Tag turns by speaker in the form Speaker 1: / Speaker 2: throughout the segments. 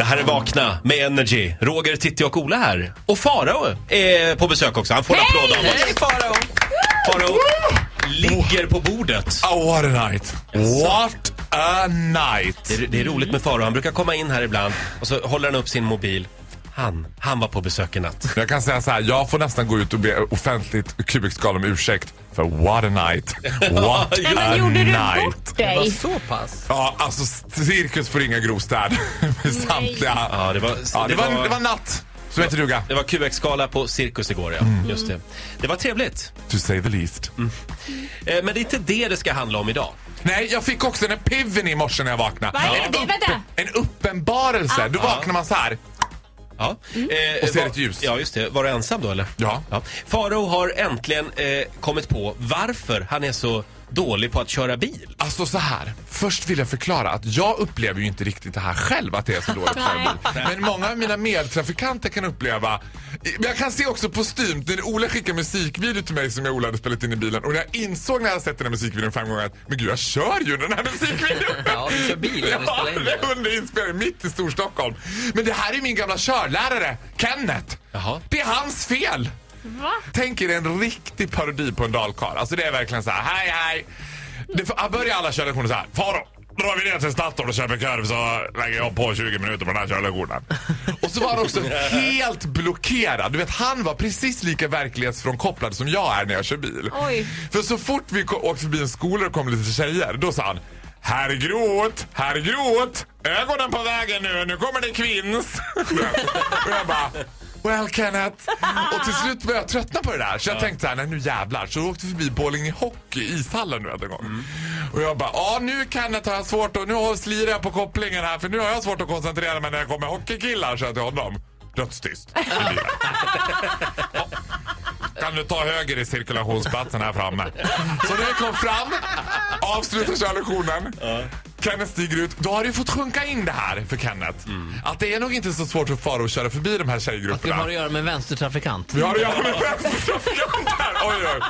Speaker 1: Här är Vakna med Energy. Roger, Titti och Ola här. Och Farao är på besök också. Han får en applåd av oss.
Speaker 2: Hej Farao!
Speaker 1: Farao ligger på bordet.
Speaker 3: Oh, what a night! What a night!
Speaker 1: Det är, det är roligt med Farao. Han brukar komma in här ibland och så håller han upp sin mobil. Han, han var på besök i natt.
Speaker 3: Jag kan säga så här, jag får nästan gå ut och be offentligt Kubikskal om ursäkt för what a night. What
Speaker 1: Ja,
Speaker 3: a
Speaker 4: Men gjorde du
Speaker 3: night.
Speaker 4: bort
Speaker 2: Det var
Speaker 4: dig?
Speaker 2: så pass.
Speaker 3: Ja, alltså cirkus får inga grostäd. Med samtliga.
Speaker 1: Ja, det var,
Speaker 3: Ja, det, var, det var natt. Som heter duga.
Speaker 1: det var QX-skala på Cirkus igår, ja. Just det. Det var trevligt.
Speaker 3: To say the least.
Speaker 4: Mm.
Speaker 1: Eh, Men det är inte det det ska handla om idag.
Speaker 3: Nej, jag fick också en piven i morse när jag vaknade.
Speaker 4: Vad är det? Vänta! Ah.
Speaker 3: En uppenbarelse. Då vaknar man så här.
Speaker 1: Ja. Eh,
Speaker 3: Och ser
Speaker 1: var-
Speaker 3: ett ljus.
Speaker 1: Ja, just det. Var du ensam då eller?
Speaker 3: Ja.
Speaker 1: Faro har äntligen eh, kommit på varför han är så dålig på att köra bil.
Speaker 3: Alltså så här. Först vill jag förklara att jag upplever ju inte riktigt det här själv att det är så dåligt självbild. Men många av mina medtrafikanter kan uppleva men jag kan se också på Steam, när Ola skickar musikvideo till mig som jag och Ola hade spelat in i bilen och jag insåg när jag hade sett den här musikvideon fem gånger att men gud jag kör ju den här musikvideon!
Speaker 2: Ja, du kör bil när du
Speaker 3: Ja,
Speaker 2: spelar in
Speaker 3: det
Speaker 2: det.
Speaker 3: är under inspelning mitt i Storstockholm. Men det här är min gamla körlärare, Kenneth.
Speaker 1: Jaha.
Speaker 3: Det är hans fel.
Speaker 4: Va?
Speaker 3: Tänk er en riktig parodi på en dalkarl. Alltså det är verkligen så här, hej hej. Det f- här börjar alla körlektioner så här, Faro. Drar vi ner till Statoil och köper korv så lägger jag på 20 minuter på den här körlektionen. Och så var han också helt blockerad. Du vet, han var precis lika verklighetsfrånkopplad som jag är när jag kör bil.
Speaker 4: Oj.
Speaker 3: För så fort vi ko- åkte förbi en skola och kom lite tjejer, då sa han Herr Groth, herr Groth, ögonen på vägen nu, nu kommer det kvinns. och jag bara, well Kenneth. Och till slut började jag tröttna på det där. Så jag tänkte så här, nej nu jävlar. Så åkte vi förbi Borlänge Hockey, ishallen nu en gång. Och jag bara, ja nu Kenneth har jag svårt att, nu har- slirar jag på kopplingen här för nu har jag svårt att koncentrera mig när jag kommer hockeykillar, så jag till honom. Dödstyst. i bilen. Kan du ta höger i cirkulationsplatsen här framme? Så när jag kom fram, avslutar körlektionen. Kenneth stiger ut. Då har du fått sjunka in det här för Kenneth. Att det är nog inte så svårt för Faro att köra förbi de här
Speaker 2: Det
Speaker 3: tjejgrupperna.
Speaker 2: har att göra med en vänstertrafikant.
Speaker 3: Vi har att göra med vänstertrafikant här. Oj, oj.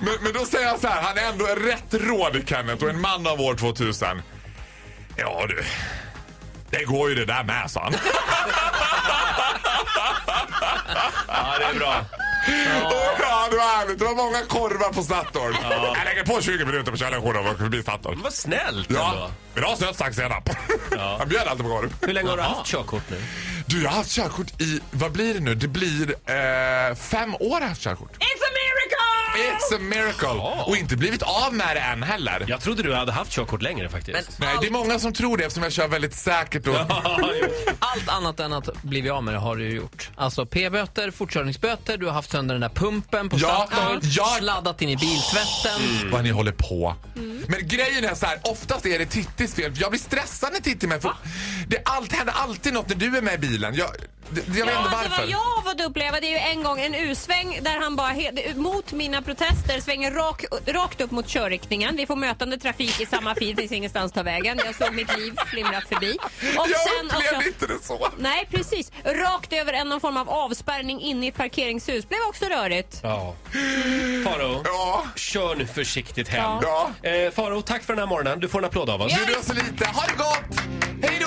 Speaker 3: Men, men då säger jag så här, han är ändå rätt rådig Kenneth och en man av år 2000. Ja du, det går ju det där med sa han.
Speaker 1: Ja, det är bra.
Speaker 3: Åh, Ja, det var härligt. Det var många korvar på Statoil. Jag lägger på 20 minuter på körlektionen och åker förbi Statoil.
Speaker 1: Vad snällt
Speaker 3: Ja,
Speaker 1: ändå.
Speaker 3: vill du ha sötsax senap? Han bjöd alltid på korv.
Speaker 1: Hur länge har du haft körkort nu?
Speaker 3: Du, jag har haft körkort i, vad blir det nu? Det blir eh, fem år har jag haft körkort.
Speaker 4: It's a miracle!
Speaker 3: It's a miracle!
Speaker 1: Ja.
Speaker 3: Och inte blivit av med det än heller.
Speaker 1: Jag trodde du hade haft körkort längre
Speaker 2: Men
Speaker 1: faktiskt.
Speaker 3: Nej, det är många som tror det eftersom jag kör väldigt säkert och...
Speaker 2: allt annat än att bli av med det har du ju gjort. Alltså p-böter, fortkörningsböter, du har haft sönder den där pumpen på
Speaker 3: Ja,
Speaker 2: Statoil,
Speaker 3: ja. Mm.
Speaker 2: sladdat in i biltvätten.
Speaker 3: Vad ni håller på.
Speaker 4: Mm.
Speaker 3: Men grejen är så här, oftast är det Tittis fel. Jag blir stressad när Titti är med. För det allt, händer alltid något när du är med i bilen. Jag, det, jag vet
Speaker 4: Ja,
Speaker 3: inte
Speaker 4: alltså
Speaker 3: varför.
Speaker 4: vad jag har fått uppleva det är ju en gång en U-sväng där han bara he- mot mina protester svänger rak, rakt upp mot körriktningen. Vi får mötande trafik i samma fil, finns ingenstans att ta vägen. Jag såg mitt liv flimra förbi. Och
Speaker 3: Jag
Speaker 4: också-
Speaker 3: upplevde inte det så.
Speaker 4: Nej, precis. Rakt över en någon form av avspärrning in i ett parkeringshus. Blev också rörigt.
Speaker 1: Ja. Faro,
Speaker 3: Ja.
Speaker 1: kör nu försiktigt hem.
Speaker 3: Ja.
Speaker 1: Eh, Faro, tack för den här morgonen. Du får en applåd av oss.
Speaker 3: Du, du har så lite. Ha det gott! Hej då!